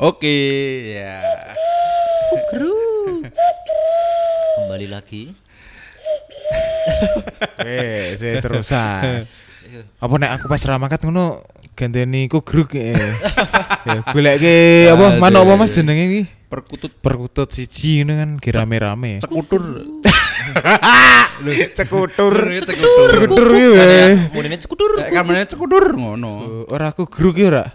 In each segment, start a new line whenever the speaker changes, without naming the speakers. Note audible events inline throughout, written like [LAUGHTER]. Oke, ya.
Kembali lagi.
Eh, saya [LAUGHS] terusan. Apa nek aku pas ramakat ngono ganteni kugruk [LAUGHS] ya. Ya goleke apa
Aduh.
manuk apa Mas jenenge iki?
Perkutut
Perkutut siji ngono kan gerame-rame.
cekutur.
Cekutur.
cekutur.
Cekutur iki weh.
Kemudian cekudur.
Lek kamarnya cekutur ngono.
Oh, Ora kugruk iki ora.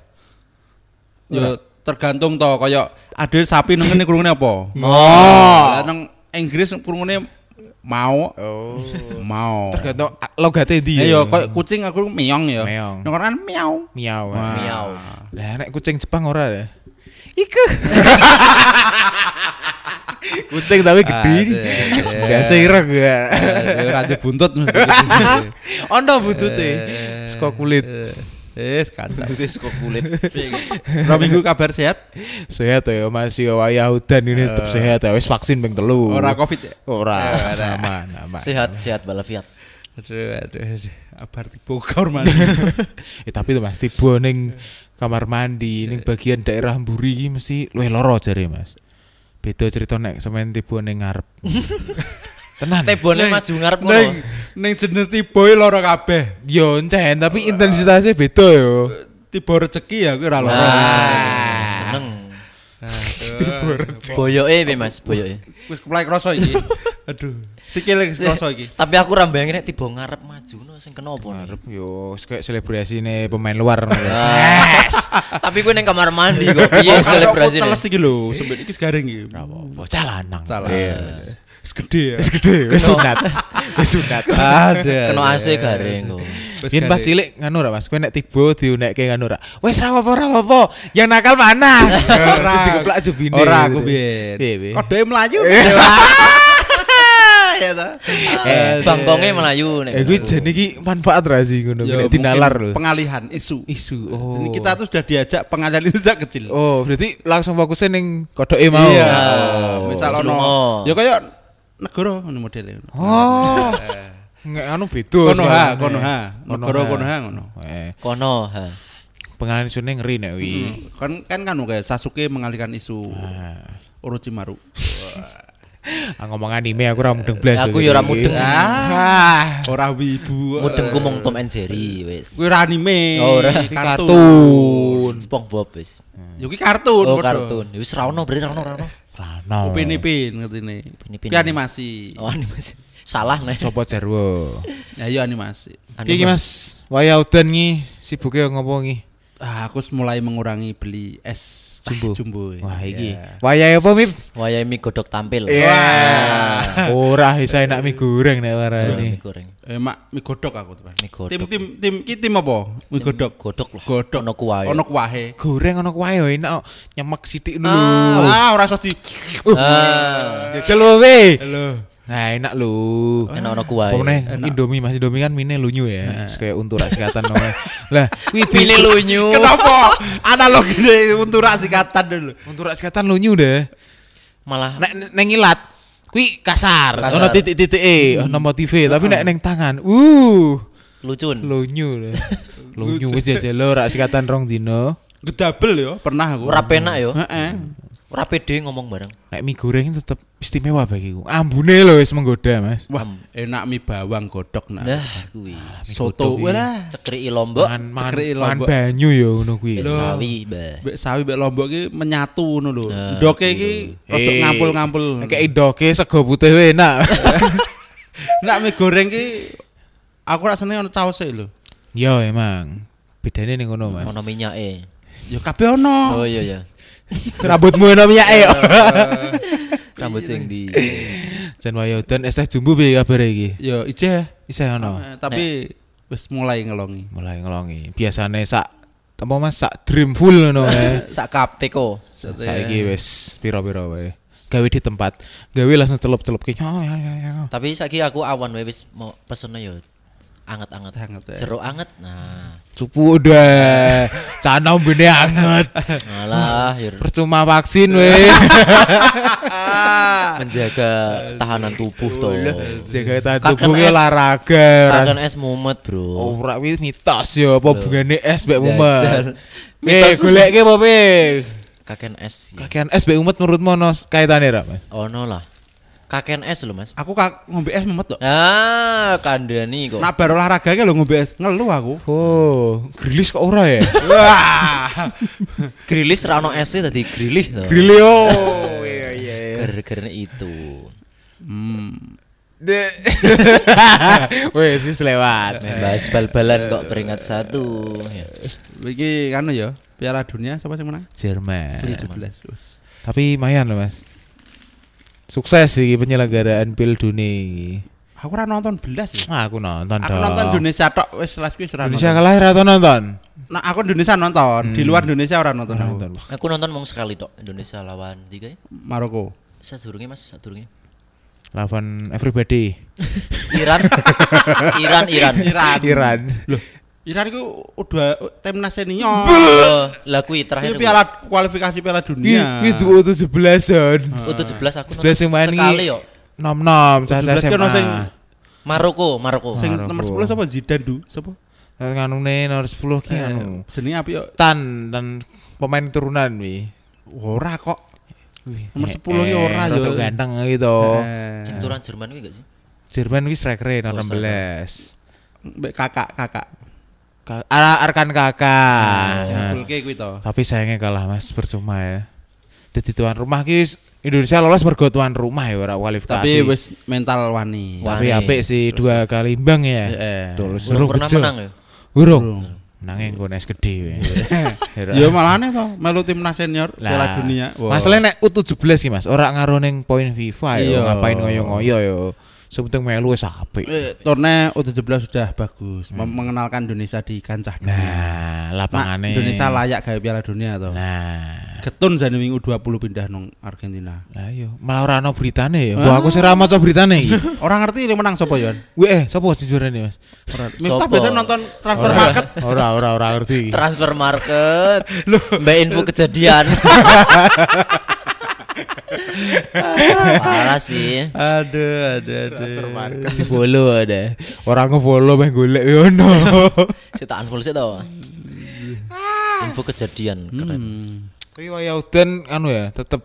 Ya tergantung to kaya ada sapi nang ngene kurungane apa?
Oh.
Lah nang Inggris kurungane mau. Mau.
Tergantung a- ah, logate
Ya
ndi.
ya koyo kucing aku meong ya.
Meong.
Nang kono kan miau.
miau.
Miau.
Lah nek kucing Jepang ora [LAUGHS] ya. Iku. kucing tapi gede. Biasa ireng ya.
Eh, Ora dibuntut mesti [LAUGHS] kucing.
[LAUGHS] Ono butute. Saka kulit.
Eh, Iya, kacau. Itu suka [LAUGHS] kulit. gitu. Rong minggu kabar sehat?
Sehat ya Mas yo wayah udan ini tetep sehat ya. Wis vaksin ping telu.
Ora covid ya?
Ora. Aman, aman.
Sehat, sehat walafiat.
Aduh, aduh, aduh. Kabar dibongkar [LAUGHS] mana?
Eh, tapi itu Mas tiba ning kamar mandi ning bagian daerah mburi iki mesti luwih loro jare Mas. Beda cerita nek sampean tiba ning [LAUGHS] ngarep. Tenan.
Tebone maju ngarep ngono.
Neng, neng jenis tiboy loro kabeh.
Yo encen tapi intensitasnya beda yo.
Tiba rezeki ya, gue loro. Nah.
Ah, seneng. Boyoke piye Mas, boyoke.
Wis kepelai kroso iki. [LAUGHS] Aduh. Sikile kroso [LAUGHS] iki.
Tapi aku ra mbayangin nek tiba ngarep maju no sing kena apa. nih?
Yo wis kayak selebrasi nih pemain [LAUGHS] luar. Yes.
Tapi gue neng kamar mandi kok
Kok
piye
ada
selebrasi.
aku Teles iki lho, sempit iki segaring iki.
Bocah lanang.
Salah.
Iya.
Wis gede ya.
Wis gede, wis sunat. Wis [LAUGHS] sunat.
Ada.
Kena AC garing kok.
Yen pas cilik nganu ora Mas, kowe nek tiba diunekke nganu ora. Wis ra apa-apa, ra apa-apa. Yang nakal [LAUGHS] mana? Ora dikeplak jubine.
Ora aku
Piye,
biyen.
piye?
Kodhe [LAUGHS] mlayu. Iya, Ya ta.
Eh,
Bangkonge melayu nek.
eh kuwi jenenge iki manfaat ra sih ngono.
Ya,
Nek dinalar
mungkin
lho.
Pengalihan isu.
Isu. Oh.
Ini Kita tuh sudah diajak pengalihan isu sejak kecil.
Oh, berarti langsung fokusnya ning kodoke mau.
Iya.
Oh.
Misal
Selungo.
ono. Ya kaya negara ngono modele.
[LAUGHS]
Oh. Nggak anu beda.
Konoha,
soalnya.
Konoha, negara
Konoha.
Konoha ngono.
Eh,
Kono. ha.
pengalaman sune ngeri nek wi.
Kan kan kan kayak Sasuke mengalihkan isu Orochimaru. Hmm.
Ah, ngomong anime aku ora mudeng blas.
Aku ya
lho,
ora
iki.
mudeng.
Ah.
Ora wibu.
Mudengku mung Tom and Jerry wis.
Kuwi ora anime.
Oh, ora.
Iki kartun.
Kartun.
SpongeBob wis.
Yo ki Ya, kartun.
Oh
padha.
kartun. Wis ra ono berarti ra ono ra ono.
Rano.
Upin-ipin ngertine.
Upin-ipin.
Ki animasi.
Oh animasi. Salah Anu nih.
Sopo jarwo.
Ya yo animasi.
Piye iki Mas? Waya udan iki sibuke ngopo iki?
Ah, aku mulai mengurangi beli es jumbo. jumbo.
Wah iki.
Eh.
Ya.
Waya apa Mip?
Wayahe mie godhog tampil.
Iya.
Ah.
[LAUGHS] Ora bisa enak mie goreng nek
Mie
warane.
goreng.
Eh, mak mie godok aku tuh. Pak.
Mie godok.
Tim tim tim ki tim apa? Mie godok.
godhog loh.
Godok.
Ono kuwahe.
Ono kuwahe.
Goreng ono kuwae yo enak kok. nyemek sithik lho.
Ah, ora usah di.
Jajal wae.
Halo.
Nah, enak lho.
Ah. Enak ono kuwae.
Pokoknya Indomie Mas Indomie kan mine lunyu ya. Terus Kayak untur asikatan
[LAUGHS]
namanya. Lah, kuwi di-
Mie lunyu.
Kenapa? Analog ini untuk rasikatan dulu.
untur asikatan lunyu deh.
Malah
Nek nek- neng ilat kuwi kasar.
Kasar. Hmm.
Ono titik-titik e, ono motive, tapi nek neng tangan, uh,
lucun.
lunyu
[LAUGHS]
deh. Lunyu wis jajal lho rak sikatan rong dino.
Gedabel ya, pernah aku.
Ora penak yo.
Heeh.
Ora pede ngomong bareng.
Nek mie goreng tetep istimewa bagiku. Ambune lho wis menggoda, Mas.
Wah, enak mie bawang godok nah.
Nah, kuwi.
Soto walah.
Cekriki lombok.
Ah, Mangan mangan
cekrek
mangan
lombok.
banyu yo ngono kuwi.
Mbek sawi, Mbah.
Mbek sawi mbek lombok ki menyatu ngono lho. Ndoke iki rada
Hei.
ngampul-ngampul.
Nek iya. Eh. Kayak idoke sego putih wae enak.
Nek mie goreng ki aku rasane ono cause e lho.
[LAUGHS] Yo emang. Bedane ning ngono, Mas.
Ono minyake.
Ya kabeh ono.
Oh iya
[LAUGHS]
ya.
Rambutmu eh. ono minyake yo.
Rambut sing di
[LAUGHS] Iya, Jan wayo dan es teh jumbo piye kabare iki?
Ya ijeh.
Isih ono.
Eh, tapi wis mulai ngelongi.
mulai ngelongi biasane sak tempo mas sak dream full ngono [LAUGHS] ya
[LAUGHS] sak kapteko.
saiki wis piro-piro wae gawe di tempat gawe langsung celup-celup ki oh, ya, ya, ya.
Tapi saiki aku awan wae wis mau pesene yo anget-anget.
Anget, ya.
Jeruk anget. Nah,
cupu [LAUGHS] udah cana bene anget
alah yo
percuma vaksin [LAUGHS] weh
menjaga ketahanan tubuh to.
jaga tahan
Kangen
tubuh ki
es.
olahraga
Kangen es mumet, Bro.
Oh, ora wis mitos yo apa bungane es mbek
Jajal.
mumet
Mitos.
Eh golek ki apa pe
Kaken S. ya.
Kakean es be umet menurutmu ono kaitane ra, Mas?
Ono lah. Kaken S lho, Mas.
Aku kak ngombe es memet tok.
Ah, kandhani kok.
Nak bar olahraga ki lho ngombe es, ngelu aku.
Oh, grilis kok ora ya?
Wah.
Grilis ra ono S dadi grilih to.
Grilio. Iya [LAUGHS] iya.
Gara-gara itu.
Wes wis lewat.
Bahas bal-balan kok peringkat satu. Ya.
Iki kan ya, Piala Dunia siapa sing menang?
Jerman.
2017. Wes.
Tapi lumayan loh mas. Sukses sih penyelenggaraan Pil Dunia. iki.
Aku ora nonton belas ya.
Wah, aku nonton
Aku
dong.
nonton Indonesia tok wis last kuwi ora
Indonesia
nonton.
kalah atau nonton?
Nah, aku Indonesia nonton, di luar Indonesia ora nonton aku.
Nonton.
Aku nonton mong sekali tok Indonesia lawan tiga ya.
Maroko.
Sadurunge Mas, sadurunge. [LAUGHS]
Lawan everybody.
Iran. Iran, Iran.
[LAUGHS] Iran.
Iran iku udah timnas senior.
Eh, Lah kuwi
Ini
terakhir.
piala kualifikasi Piala Dunia.
Itu itu sebelasan.
U17 aku nonton
11 yang main iki.
sekali yo.
Nom nom. Caca
17 kan ono sing
SMA.
Maroko, Maroko.
sing
Maroko.
nomor 10 sapa Zidane du? Sapa?
Nganu nih nomor 10
Eh.
ki nganu.
Jenenge api yo.
Tan dan pemain turunan wi.
Ora kok. Nomor
Eh,
10 ki
eh,
ora yo.
rada Ganteng gitu.
Eh,
Sing turunan Jerman kuwi gak sih?
Jerman wis rek rek nomor
Oh,
16.
mbek kakak-kakak.
Ka- Ara Arkan
Eh,
kakak.
Sing
Nah,
ngulke kuwi to.
Tapi sayangnya kalah mas, percuma ya. Jadi tuan rumah ki Indonesia lolos mergo tuan rumah ya ora kualifikasi.
Tapi wis mental wani.
tapi
Wani.
apik sih dua kali imbang ya.
Heeh.
Terus
Belum pernah
bejo.
menang ya.
Urung. Nanging nggo es gede
[LAUGHS]
we. Heran.
Ya malane to melu timnas senior
Lah,
Piala Dunia. Wah.
Masalahnya nek U17 ki Mas, ora ngaruh ning poin FIFA
Iya.
ya ngapain ngoyo-ngoyo ya. Sepenting melu wis apik.
Eh, turne U17 sudah bagus, mem- mengenalkan Indonesia di kancah dunia.
Nah,
Nah,
lapangane.
Indonesia layak gawe Piala Dunia to.
Nah,
Getun jane minggu 20 pindah nang Argentina.
lah yo malah ora ana beritane ya. Mbok aku sing ra maca beritane
[LAUGHS]
iki.
Orang ngerti yang menang sapa Yon?
Weh, sapa sih juara nih mas?
Miftah
Sopo?
biasa nonton transfer market.
[LAUGHS] Ora ora ora ngerti.
[LAUGHS]
Transfer market. Mbak info kejadian. Parah sih.
Aduh, aduh,
Transfer market di follow ada. Orang ngefollow meh golek yo
[LAUGHS]
no.
Saya tak unfollow sih tau. Info kejadian
Hmm.
keren.
Kuwi waya udan anu ya, tetep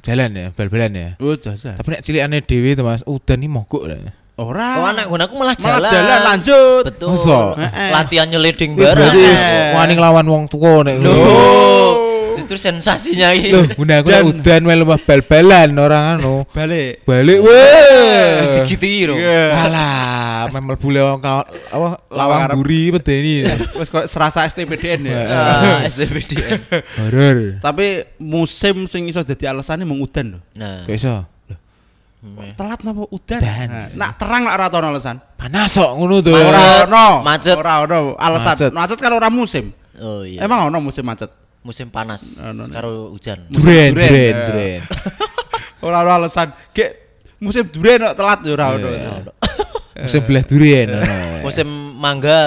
jalan ya, bal-balan ya.
Udah sah.
Tapi nek cilikane dhewe to Mas, udan iki mogok lah.
Ora.
Oh anak gue aku malah
Malah
jalan.
jalan, lanjut.
Betul.
Masa?
Heeh.
Latihan Nah, nyeleding
Kuwi
barang.
berarti wis wani nglawan wong tua nek. Loh,
Oh, Justru sensasinya
Loh,
ini.
guna aku nek udan meh lemah bal-balan orang anu.
Balik.
Balik weh.
Terus digitiro.
Alah, meh mlebu lewang kawan apa
Lawang
lawang
Arab.
buri [LAUGHS] medeni.
Wes kok serasa STPDN ya. [LAUGHS]
Ah, SDPDN.
Horor.
Tapi musim sing iso dadi alasane mung udan lho.
Nah,
Kok iso?
Telat napa udan?
Udan.
Nah, Nak terang nak ora ono alasan.
panas sok ngono tuh
Macet.
Ora ono.
Macet.
Ora ono alasan.
Eh. Macet.
Macet kan ora musim.
oh iya.
Emang ono musim macet.
musim panas karo hujan.
Duren,
duren duren
ya.
duren
Ora ono alasan. Gek musim duren kok telat ya ora ono.
musim belah duren ono.
Musim mangga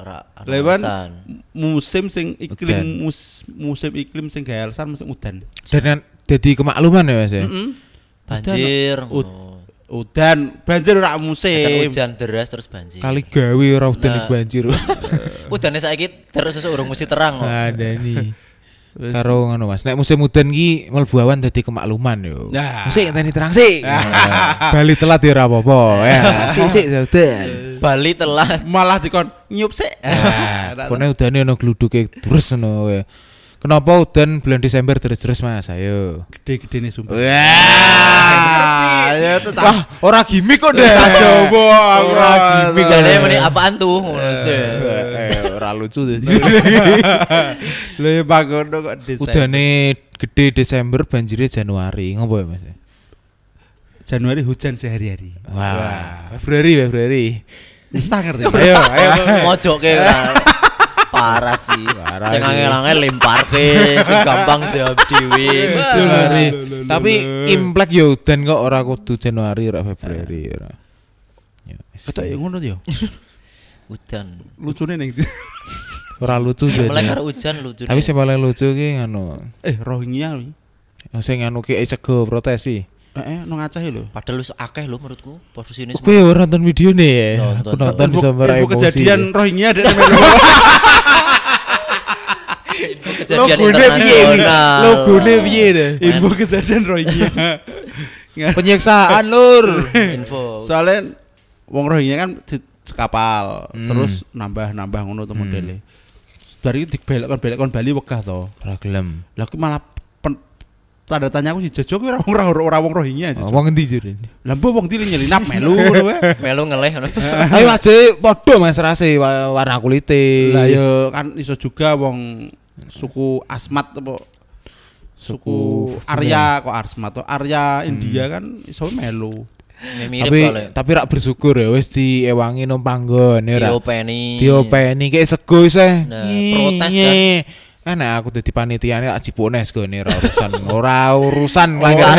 ora ora
Lewan
alasan.
musim sing
Udan.
iklim mus, musim iklim sing gawe alasan musim udan.
dan jadi kemakluman ya mas ya
banjir.
Ud-
ngono.
Udan banjir ora
Kan
musim.
hujan deras terus banjir.
Eh, kali gawe ora udan
Nah.
iki [LAUGHS] banjir
Udane saiki terus sesuk urung mesti terang [LAUGHS] kok.
ada nih karo ngono mas nek musim udan ki mlebu awan dadi kemakluman yo
Nah.
sik tani terang sik [LAUGHS] bali telat ya ora apa-apa ya
Nah.
sik sik udan
Bali telat.
Malah dikon nyup sik. Ora-
kone Nah, udane ono gluduke terus ngono we. kenapa udan bulan Desember terus-terus mas ayo
gede-gede nih sumpah.
Wah,
ya itu
Wah, ora gimmick kok deh.
Coba aku
Ora
[LAUGHS]
gimmick
Jane meni apaan tuh ngono sih.
Ah, Eh, ora lucu deh.
Lho ya bangono kok desain.
Udane gede Desember banjirnya Januari, ngopo ya Mas?
Januari hujan sehari-hari.
Wah, Februari Februari.
Entah ngerti.
Ayo, ayo.
Eh, Mojoke ora. Parah sih.
eh. Parah
Sing
sih.
angel-angel lemparke, sing gampang jawab dhewe.
Januari. Tapi Imlek yo udan kok ora kudu Januari ora Februari ora. Ya, wis.
Ketok ya ngono ya.
Udan.
Lucune ning
Ora lucu
Mulai
jadi.
karo hujan lucu.
ya. Tapi sing paling lucu ki ngono.
eh Rohingya kuwi.
Sing anu ki sego protes wi.
Heeh, nang Aceh lho.
Padahal wis akeh lho menurutku profesionis.
Aku ya ora nonton video nih.
Nonton,
Aku nonton
Info-
bisa
info [LAUGHS]
meraih emosi.
kejadian Rohingya dek
kejadian
Logone piye iki?
internasional.
Iya. Logone piye deh?
Info kejadian Rohingya. Nggak-
Penyiksaan lur.
Info.
Soalnya wong Rohingya kan di kapal, terus nambah-nambah ngono tuh modele. Dari itu dibelok-belokon Bali wegah to.
Ora gelem.
Lah aku malah pen- tanda tanya aku si Jojo ki ora ora ora wong Rohingya Jojo.
Oh, Wong endi jare?
Lah mbok wong tili nyelinap melu
[LAUGHS]
ngono eh. wae.
Melu ngeleh ngono.
Ayo aja padha Mas Rase wa- warna kulite.
Lah yo kan iso juga wong suku Asmat apa suku Arya kok Asmat to Arya
Hmm.
India kan iso melu.
Ini Mirip
tapi
kali.
tapi rak bersyukur ya wes diewangi numpang gon
Iya,
ya rak
Diopeni.
diopeni kayak sego sih
Nah, protes kan.
iya. enak aku jadi panitia ini tak jipones gue nih ora urusan ora [LAUGHS] urusan langgar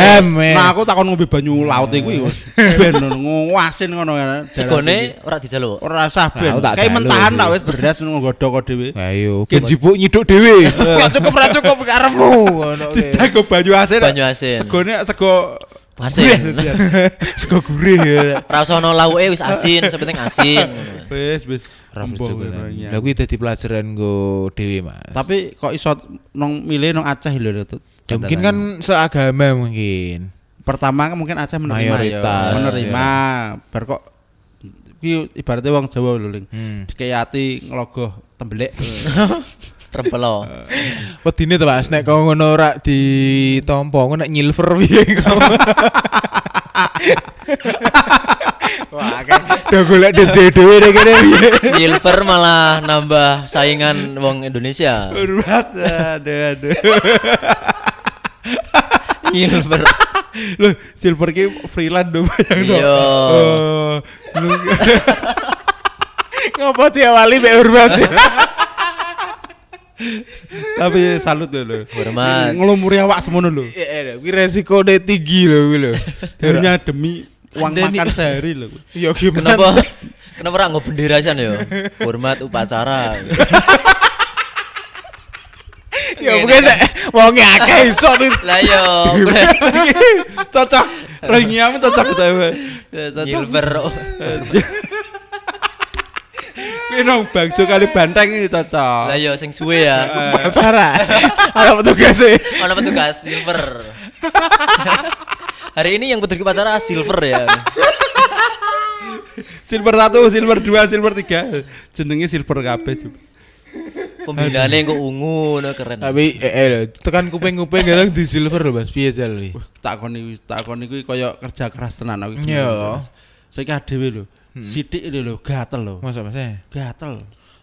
Ora.
ham eh. Oh.
Nah aku takon ngombe banyu laut iku yo ben nguasin ngono
[LAUGHS]
ya.
Segone ora dijaluk.
ora usah ben.
Nah, aku tak
Kayak
jaluk.
mentahan tak wis beras nggodhok kok dhewe.
ayo ben iya, jipuk nyiduk [LAUGHS] dhewe gak cukup ra cukup karepmu [LAUGHS] ngono oke.
Dijago banyu asin.
Banyu asin.
Segone sego
Iya,
Asin.
[LAUGHS] sego gurih ya Rak.
Ora usah ono lauke wis asin, sepenting asin ngono.
Wis wis. ya,
Ora
Mbok
bersyukur
kowe,
kan.
Rohingya.
Lah kuwi dadi pelajaran gue dhewe Mas.
Tapi kok iso nong milih nong Aceh lho lho, Tut.
Ya, mungkin kan seagama mungkin.
pertama kan mungkin Aceh menerima ya.
Mayoritas, Iya.
menerima bar kok ki ibaratnya wong Jawa lho Ling. Kayak ati ngelogoh [LAUGHS] tembelek.
Rebelo.
Wedine to Mas nek kau ngono ora ditampa ngono nek nyilver [LAUGHS] piye kau. Wah, kan do golek dhewe dhewe nek kene piye.
Silver malah nambah saingan wong Indonesia.
Berat aduh aduh.
Silver.
Loh, silver ki freelance do bayang do.
Iya.
Eh,
[LAUGHS]
lu-
Ngopo diawali mek [LAUGHS] urban.
Tapi salut lho, lho.
Hormat.
Ngelumuri awak semono lho.
Kuwi resiko de tinggi lho kuwi
[LAUGHS]
lho.
Hanya demi uang
Anda ini-
makan sehari lho.
Ya gimana?
Kenapa? Kenapa ora nggo bendera san yo? Hormat upacara.
Ya mungkin nek [LAUGHS] wonge akeh iso tuh.
Lah
[LAUGHS]
yo.
cocok. Rohingya mu [LAUGHS] cocok ta. Iya,
Silver.
Kuwi nang bangjo kali banteng ini cocok.
Lah yo sing suwe
Ah.
ya.
Pacara. Ana petugas e.
Ono petugas silver. Hari ini yang petugas upacara silver ya.
Silver 1, silver 2, silver 3. Jenenge silver kabeh. Jum.
Pembinaannya kok ungu, no, keren.
Tapi eh, eh lho, tekan kuping-kuping kadang di silver lho Mas piye jal kuwi.
Tak kon iki, tak kon iki kaya kerja keras tenan aku. iki.
Iya.
Saiki adewe lho. Sithik lho lho gatel lho.
Masa Mas eh?
Gatel.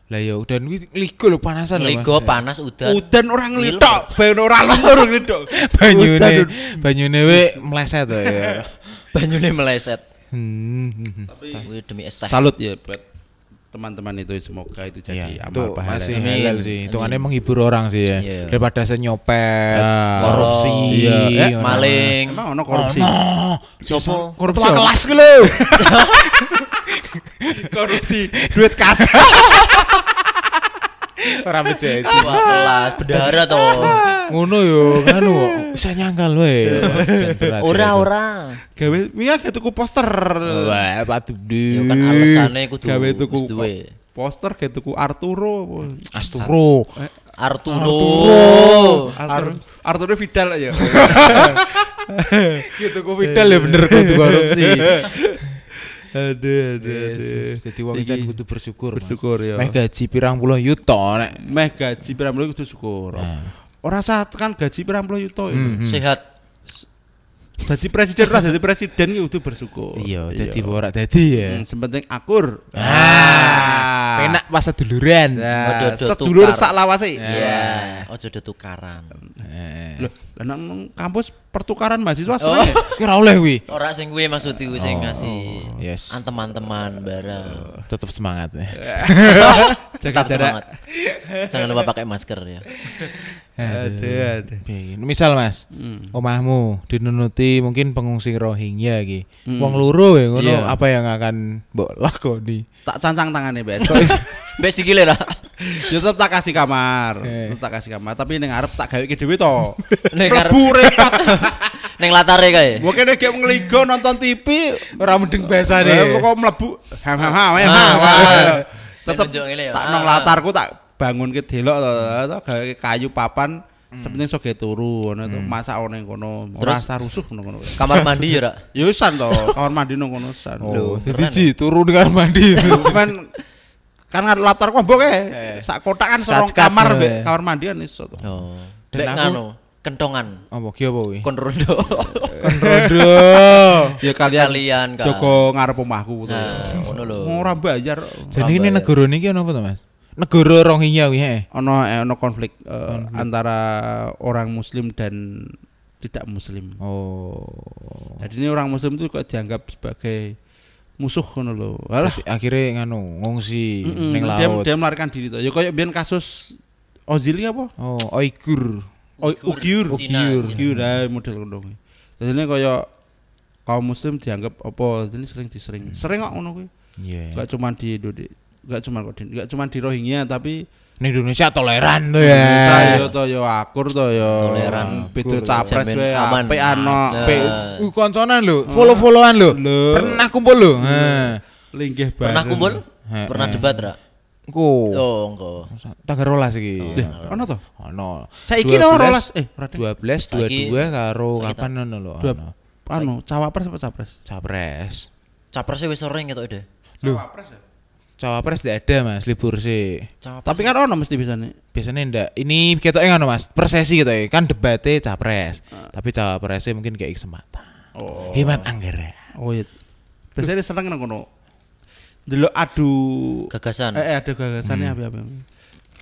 Lah ya udan kuwi ligo lho panasan lho Mas.
Ligo panas udan.
Udan ora ngelitok, ben ora lentur ngelitok.
Iya. [LAUGHS] banyune
Udan,
banyune we meleset to ya.
Banyune meleset.
Hmm.
Kuwi demi es teh.
Salut ya buat teman-teman itu semoga itu jadi
Ya, itu
amal kan pahala.
masih
Amin.
halal sih. Hitungannya menghibur orang sih ya.
Iya.
Daripada saya nyopet, korupsi,
Ah. Iya, eh,
orang-
Maling.
Emang ono korupsi.
Oh,
Sopo?
korupsi
Ketua
kelas ku [LAUGHS] lho.
[LAUGHS] korupsi duit kas.
[LAUGHS] Ora becet.
Wah, kelas bendara to.
Ngono yo, nganu kok. Bisa nyangkal we.
Iya.
ya.
Ora ora.
Gawe iya gak tuku poster.
Wah, patu
Yo
du.
kan
Iya.
alasane kudu
Gawe tuku
wis duwe.
poster gak tuku Arturo.
Asturo.
Arturo.
Arturo Arturo Vidal aja.
Gitu kok Fidel ya bener kudu korupsi.
[LAUGHS] aduh aduh
Jadi wong
Iki
jan kudu bersyukur. Mas.
Iya. bersyukur ya.
Meh gaji pirang puluh yuta nek
Meh gaji pirang puluh kudu syukur. Ora usah tekan gaji pirang puluh yuto. ya.
Mhm. Sehat.
Dadi presiden lah dadi presiden ki kudu bersyukur.
Iya, dadi ora dadi ya.
Hmm, Sementing akur.
Ah,
Penak.
penak pas seduluran.
Nah,
Ojo-ojo
Ah. sedulur
tukar.
sak lawase.
Iya. Ojo do tukaran.
Loh, lah nang kampus pertukaran mahasiswa
Oh.
seneng ya?
[LAUGHS] Kira oleh kuwi.
Ora sing kuwi maksud iku sing ngasih
yes.
anteman-teman
Oh.
barang.
Tetep semangat ya.
Tetap semangat. Jangan lupa pakai masker ya.
Aduh, aduh. Hmm.
Piye, Misal Mas, omahmu dinunuti mungkin pengungsi Rohingya iki. Wong loro ya ngono,
Hmm. Iya.
apa yang akan mbok lakoni?
Tak cancang tangannya
[LAUGHS]
Ben.
Mbek sikile ra.
ya tetep tak kasih kamar.
Eh.
Tetep tak kasih kamar, tapi ning arep tak gawe ki dhewe to.
[LAUGHS] Ning arep-
Mlebu repot.
Ning latare kae.
Mungkin nek ngligo nonton TV
Ora
eh,
mending bahasane.
kok mlebu ham ham ham ham,
Ah,
ham.
ah.
Tetep
Tunjuk ngene ya.
tak
Ah,
nang
ah.
latarku tak bangun ke delok to, to gawe ke kayu papan sepenting soge turu ngono to masak ono yang kono ora
Hmm. Terus?
usah rusuh ngono kono
Kamar mandi ya, Rak?
ya wis san to kamar mandi nang kono san
Oh,
Loh,
jadi
keren
ya.
ji turun dengan
[LAUGHS]
mandi.
kan kan nggak latar kompok
Eh,
ya sak kotak kan sorong
Sekat-sekat,
kamar
eh.
be kamar mandi kan iso to
Oh.
Dan
Lek
aku-
nganu, kentongan.
Oh, mbok ki apa kuwi?
Konrondo.
rondo [LAUGHS] ya kalian
Kalian kan.
Joko ngarep omahku to
Nah, ngono lho.
ora bayar
Jenenge
ya?
ini negara niki ono apa to, Mas? Negara Rohingya kuwi, heeh.
ono eh, ono konflik eh,
Hmm.
antara orang muslim dan tidak muslim
Oh.
jadi ini orang muslim itu kok dianggap sebagai musuh ngono lho alah
Berarti akhirnya nganu ngungsi
mm-mm,
ning
dia,
laut.
dia melarikan diri to ya koyo biyen kasus Ozili apa
Oh, Oigur.
Oh, Ukiur,
Cina,
Ukiur,
Cina.
Ukiur, ah, model ngono kuwi. Dadine kaya kaum muslim dianggap apa? Dadi sering disering.
Hmm.
Sering kok ngono kuwi.
Ya.
Iya.
Enggak cuma di Indonesia, enggak cuma kok di- enggak cuma di Rohingya tapi
Ning Indonesia toleran tuh ya.
Indonesia yo to yo akur to yo.
Toleran.
Beda capres
Jamin
wae
aman.
apik ano.
Nah.
apik.
Uh, konsonan lho, follow-followan lho. Iya. Pernah kumpul lho. Eh. Heeh.
Linggih bareng.
Pernah kumpul?
Heeh.
Pernah debat, Rak?
Ku.
Oh, enggak.
Tanggal rolas iki. Eh,
Ono to?
Ono.
Saiki no
12,
rolas eh ora deh.
12
Saiki-
22 karo kapan ngono lho.
Dua-
ono.
Anu, cawapres apa capres?
Capres.
Capresnya wis sering gitu ide. ya?
Cawapres.
Cawapres tidak ada Mas, libur sih.
Tapi kan ono mesti bisane.
biasanya ndak ini ketoke ngono Mas persesi gitu ya kan debatnya capres
Eh.
tapi cawapresnya mungkin kayak kesempatan oh. hemat anggaran
Oh iya. Biasanya dia seneng nang kono. Delok adu
gagasan.
eh eh, adu gagasannya apa-apa.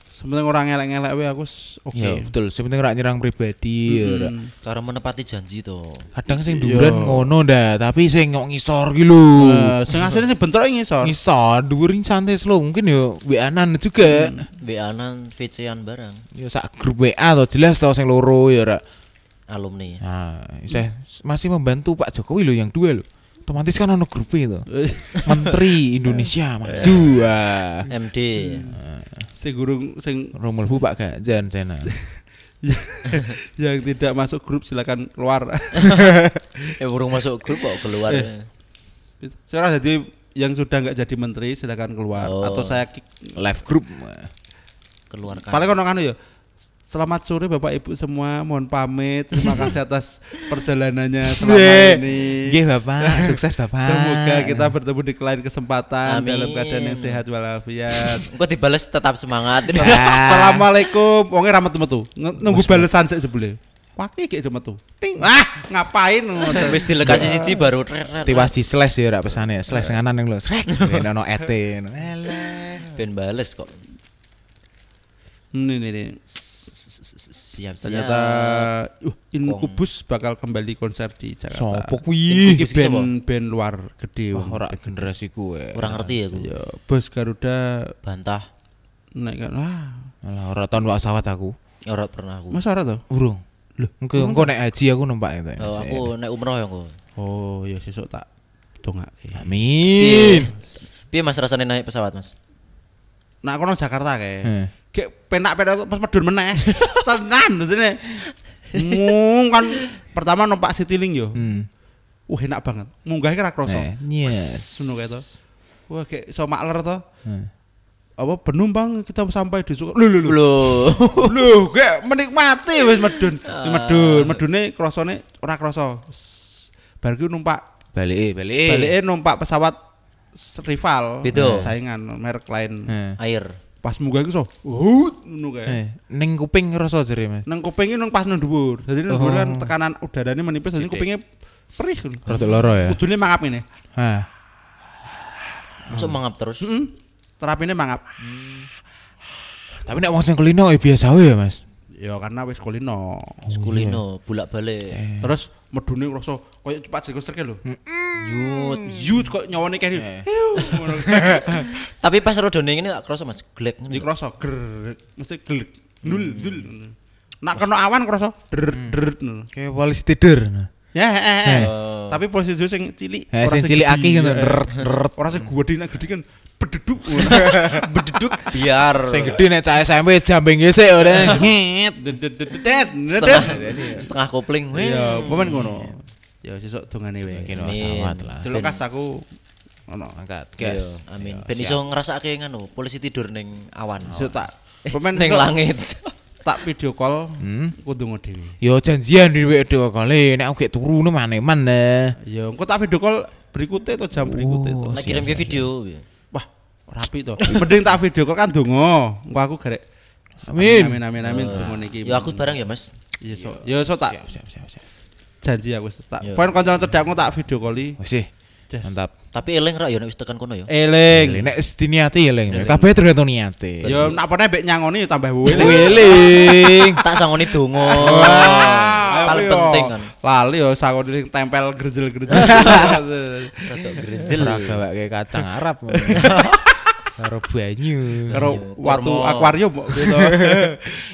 Sebenarnya orang ngelek-ngelek we aku s- oke. Eh,
ya betul sebenarnya nggak nyerang pribadi ya, rak.
Karena menepati janji tuh.
kadang
Iya.
sing duren ngono ndak tapi sing ngok ngisor gitu lho
Eh, sing asline sih bentrok ngisor.
ngisor duren santai slow mungkin yo WA-an juga
WA-nan VC-an bareng
yo sak grup WA to jelas tau sing loro ya rak
alumni.
nah
Mm.
saya masih membantu Pak Jokowi lho yang dua lho otomatis kan ono grup
[LAUGHS]
itu
Eh.
Menteri Indonesia maju ah.
MD.
Sing gurung sing [LAUGHS]
Romul Bu Pak Gajan Cena.
yang tidak masuk grup silakan keluar.
Eh burung masuk grup kok keluar.
Eh. Sekarang jadi yang sudah nggak jadi menteri silakan keluar
Oh.
atau saya kick.
Live group.
Nah,
Keluarkan.
Paling kono kan ya. Selamat sore Bapak Ibu semua, mohon pamit. Terima kasih atas perjalanannya selama ini.
Nggih Bapak, sukses Bapak.
Semoga kita bertemu di lain kesempatan
Ah. Amin.
dalam keadaan yang sehat
[LAUGHS]
walafiat.
Engko dibales tetap semangat.
Nah. Assalamualaikum. Wonge ra metu-metu. Nge- Nunggu balesan sik sebelé. Waki kayak metu. Ting. Ah, ngapain ngono.
[LAUGHS] Wis dilekasi siji baru. rer, rer,
Tiwas di slash ya rak pesane, slash sing anan yang lho. [LAUGHS] Srek. Ben ono ete. Elah.
Ben bales kok.
Ini nih, nih.
Siap-siap.
Ternyata uh, Inkubus bakal kembali konser di Jakarta.
Sopo kuwi?
Inkubus iki sapa?
band band luar gede wong.
Ora generasi kuwe.
Kurang ngerti ya gue.
Ya, bos Garuda
Bantah.
naik kan. Wah,
Alah ora tahun wak sawat aku.
Ora pernah aku.
masa ora to?
Urung. Lho, engko engko nek haji aku numpak itu.
Oh, aku naik umroh ya engko.
Oh, ya sesuk tak dongake.
Amin.
Piye Mas rasane naik pesawat, Mas?
Nah, kono Jakarta kayak.
Eh.
Kayak penak-penak tuh pas medun meneh. Tenan maksudnya. Mung kan pertama numpak Citylink yo.
Hmm.
Wah enak banget. Munggahnya kira kroso.
Eh, yes. Eh,
Sunu kayak tuh. Wah kayak so makler tuh. Apa penumpang kita sampai di Suko. Lho lho lho.
Loh.
Lho kayak menikmati wis medun.
Ah.
Medun, medune krosone ora kroso. Bar ki numpak
Balik, balik.
balike numpak pesawat s- rival
Beda.
saingan merek lain.
Eh.
Air.
Pas munggah iku so. Wuh, ngono kayak.
Eh, ning kuping ngerasa jere, Mas.
nang kupingnya nang pas nang dhuwur. Jadi nang dhuwur kan
Oh.
tekanan udaranya menipis jadi kupingnya perih.
Rodok loro ya. Ah.
Kudune mangap ini.
Hah.
Masuk mangap terus.
Hmm. Terapinnya mangap.
Tapi nek wong sing kulino ya biasa wae ya, Mas.
Ya karena wis kulino.
Sekulino bolak-balik.
Terus medune rasa koyo cepat sikus terke lho.
Hmm.
Yut, yut kok nyawane kene.
[LAUGHS]
Hiu, ngono.
Tapi pas rodone ini gak kroso Mas, glek
Jadi
ngene.
krasa ger mesti gelek. Dul
Hmm.
dul. Nak kena awan krasa der der. ngono.
Kayak walis tidur. Nah.
Ya, eh, eh, eh.
Eh.
tapi posisi dulu sing cilik,
Eh,
ora
sing
segede,
cilik aki gitu,
ya.
deret, deret.
Ora sing gede nek gede kan
[LAUGHS]
bededuk. bededuk
Biar
Sing gede nek cah SMP jambing gesek [LAUGHS] ora.
Ngit, det, det, det, det, det, det, det.
setengah setengah kopling. weh.
Ya, momen ngono. Ya sesuk dongane wae.
Kene wasawat lah.
Delok kas aku ngono.
Angkat,
Iya,
guys.
Amin. Ben iso ngrasake ngono, polisi tidur ning awan.
Sesuk tak Pemain
Ning
so-
langit.
tak video call kudu ngono dhewe.
Yo janjian di WD kali nek aku gak turu no mana mana.
Ya, engko tak video call berikutnya atau jam berikutnya to.
Oh,
Nek kirim ke video. piye?
Wah, rapi to. Mending tak video call kan donga. Engko aku garek
Amin.
Amin amin amin donga iki.
Ya aku bareng ya, Mas.
ya so, ya so tak
Siap siap siap.
janji aku wis tak.
Iya.
Poin kanca cedhakku tak video call
Wis sih.
Yes.
Mantap.
Tapi eleng ra ya nek wis tekan kono ya.
Eling.
Nek wis diniati eling. Kabeh tergantung niate.
Ya nak pernah mbek nyangoni ya tambah
eling
wele.
[LAUGHS]
eling.
Tak sangoni donga.
Wah,
Oh. Paling
aku yo.
penting kan.
Lali yo sakon sing tempel
[LAUGHS]
gerjel-gerjel.
Rada
Ora
grenjel.
gawak kayak kacang Arab. Karo banyu. [LAUGHS]
Karo
Iya,
watu
Kurma.
akuarium kok
[LAUGHS]
gitu.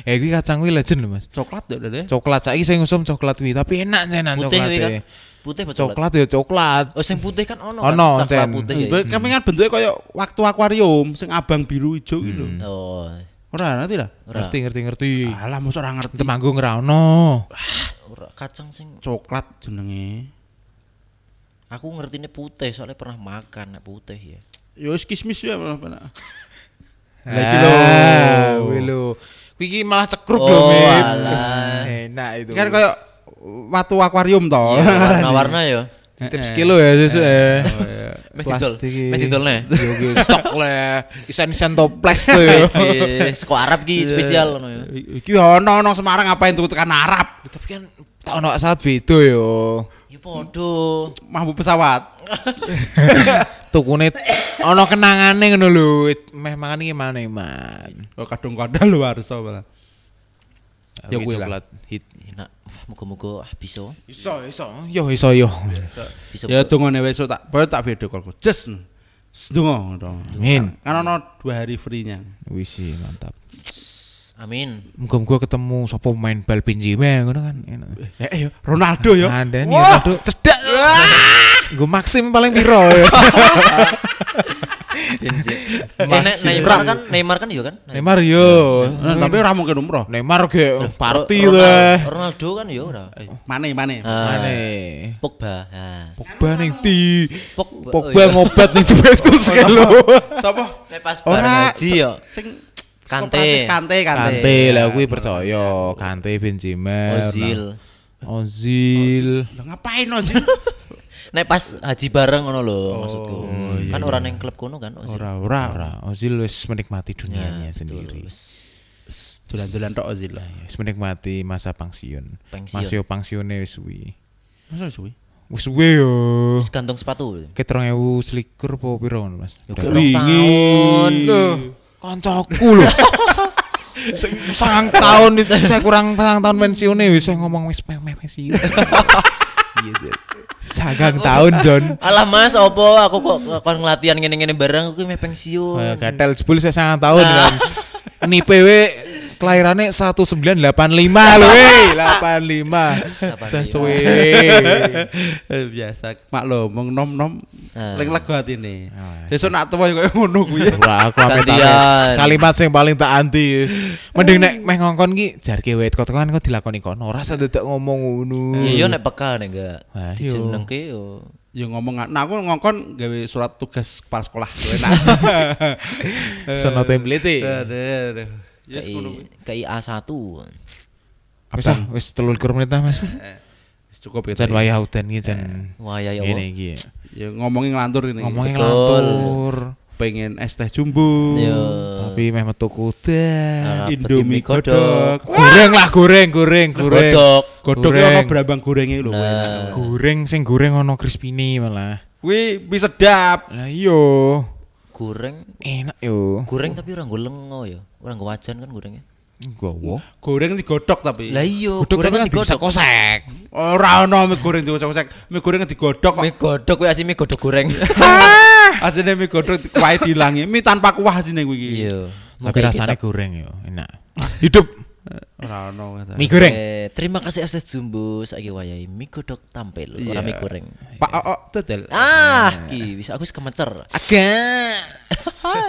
Eh kuwi kacang kuwi legend lho Mas.
Coklat ya udah deh.
Coklat saiki saya ngusum coklat kuwi, tapi enak tenan
Putih
coklat.
kuwi kan.
e.
Putih apa coklat.
Coklat ya coklat.
Oh sing putih kan ono.
Ono,
kan? Coklat
Cen.
putih. ya.
Iya, Kami kan bentuknya kayak waktu akuarium sing abang biru hijau gitu.
Oh.
Ora Ah, nanti lah.
Ora.
Ngerti ngerti ngerti.
Iya.
Alah mosok ora ngerti
Temanggung ra ono.
Ora kacang sing
coklat jenenge.
aku ngertine putih soalnya pernah makan nek putih ya.
[LAUGHS]
Yo wis kismis ya malah pernah. Lah iki
Lagi
lho.
lo. Ah, Kuwi lho. Kuwi iki malah cekruk lho,
Oh,
Min.
alah.
[LAUGHS] Enak itu.
Kan kayak watu akuarium Iya. to.
Warna-warna
[LAUGHS]
ya.
tips kilo ya susu ya.
Mes didol.
Plastik.
Mes didolne.
Yo yo stok le. Isen-isen toples tuh
[LAUGHS]
yo.
Eh, Seko Arab ki spesial ngono ya.
Iki ono ono Semarang ngapain tuh tekan Arab?
Tapi kan tak ono saat beda yo.
Ya podo.
Mampu pesawat.
Tukune ono kenangane ngono lho. Meh mangan iki mana man.
Oh kadung-kadang lu harus malah. Ya
Oke,
kuwi lah.
coklat hit.
Enak. Wah, Muga-muga ah bisa.
Iso iso. Yo iso yo.
Bisa.
Ya dongane wesuk tak baru tak video call ku. Jes. Sedonga ngono.
Amin.
Kan ono dua hari free-nya.
Wis sih, mantap.
Amin.
Muga-muga ketemu sapa main bal Benzema ngono kan enak.
Eh, eh, Ronaldo ya.
Ngandani
Wah,
Ronaldo. cedak. Gue maksim paling piro ya.
Eh, nek Neymar kan Neymar kan iya kan?
Neymar yo.
Nah, tapi ora mungkin umroh.
Neymar ge party
Ro- Ronaldo-
lah.
Ronaldo kan ya ora.
Eh, Mane, mane.
Mane.
Pogba. Ah.
Pogba ning di
Pogba.
Pogba ngobat ning
[LAUGHS]
Juventus kan lho.
Sapa?
oh iya. Nek pas bareng haji ya.
Sing
Kante.
Sokratis, Kante, Kante.
Kante lah kuwi percaya Kante Benzema.
Ozil.
Ozil.
Lah ngapain no sih?
Nek pas haji bareng ngono lho maksudku. Kan ora ning klub kono kan Ozil.
Ora, ora, ora.
Ora, Ozil wis
Ya,
menikmati dunianya sendiri.
Wis Dolan-dolan tok Ozil lah.
Wis menikmati masa pensiun.
Pensiun.
Masih pensiune wis suwi.
Masa suwi?
Wis suwe yo.
Wis gantung sepatu.
Ket 2000 selikur apa piro ngono, Mas?
Gak rong tahun.
Loh, kancaku lho. [LAUGHS] Sing sang tahun wis- saya kurang sang tahun pensiune wis saya ngomong wis meh meh pensiun. Iya, Jon. Sagang tahun John.
Alah Mas, opo aku kok kon ngelatihan ngene-ngene bareng aku meh
Oh,
pensiun.
Eh, Gatel jebul saya sangat tahun kan. Nipe we kelahirannya 1985 lho [LAUGHS] we, 85. Sesuai.
Eh, biasa maklum wong nom-nom
Ah.
ning lego atine. Sesuk nak tuwa koyo ngono kuwi.
Ora aku ampe tak-
Gantian.
kalimat sing paling tak anti. wis. Mending nek meh ngongkon ki jarke wet kotokan kok dilakoni kono ora sededak ngomong ngono.
Iya nek peka nek enggak
Wah, iya.
dijenengke yo.
Ya ngomong nah aku ngongkon gawe surat tugas kepala
[LAUGHS]
sekolah yo enak.
Sono template.
Aduh. Yes ngono kuwi.
Kayak kayak A1.
Wis ah, wis 30 menit lah Mas.
Wis cukup ya.
Jan wayah udan ki jan.
Wah, ya ya.
Ngene iki.
Ya ngomongin ngelantur ini.
Ngomongnya
Betul.
ngelantur.
Eh. pengen es teh jumbo.
Ya,
Tapi meh metu kuda.
Ah,
Indomie
petimie
godok.
Goreng lah goreng goreng goreng.
Godok.
Godok
Goreng.
ono brambang gorenge lho. enak.
Goreng sing goreng ono crispine malah.
Kuwi bisa sedap.
Lah iyo.
Goreng
Enak yo.
goreng tapi ora nggo lengo ya. Ora nggo wajan kan gorengnya.
Gowo.
Goreng digodok tapi.
Lah iya,
Godok tapi kan bisa kosek.
Ora ono mie goreng digodok, mie goreng digodok kok.
Mie godok kuwi asli mie godok goreng.
Asine mie godhog kuwahe dilangi, mie tanpa kuah asine kuwi iki.
Iya.
Tapi rasanya goreng yo, enak. Hidup
Ora ono kata.
mie goreng.
Eh, terima kasih Estes Jumbo saiki wayahe mie godok tampil ora mie goreng.
Eh.
Oh,
Pak Ook dodol.
Ah, ki bisa aku wis kemecer.
Agak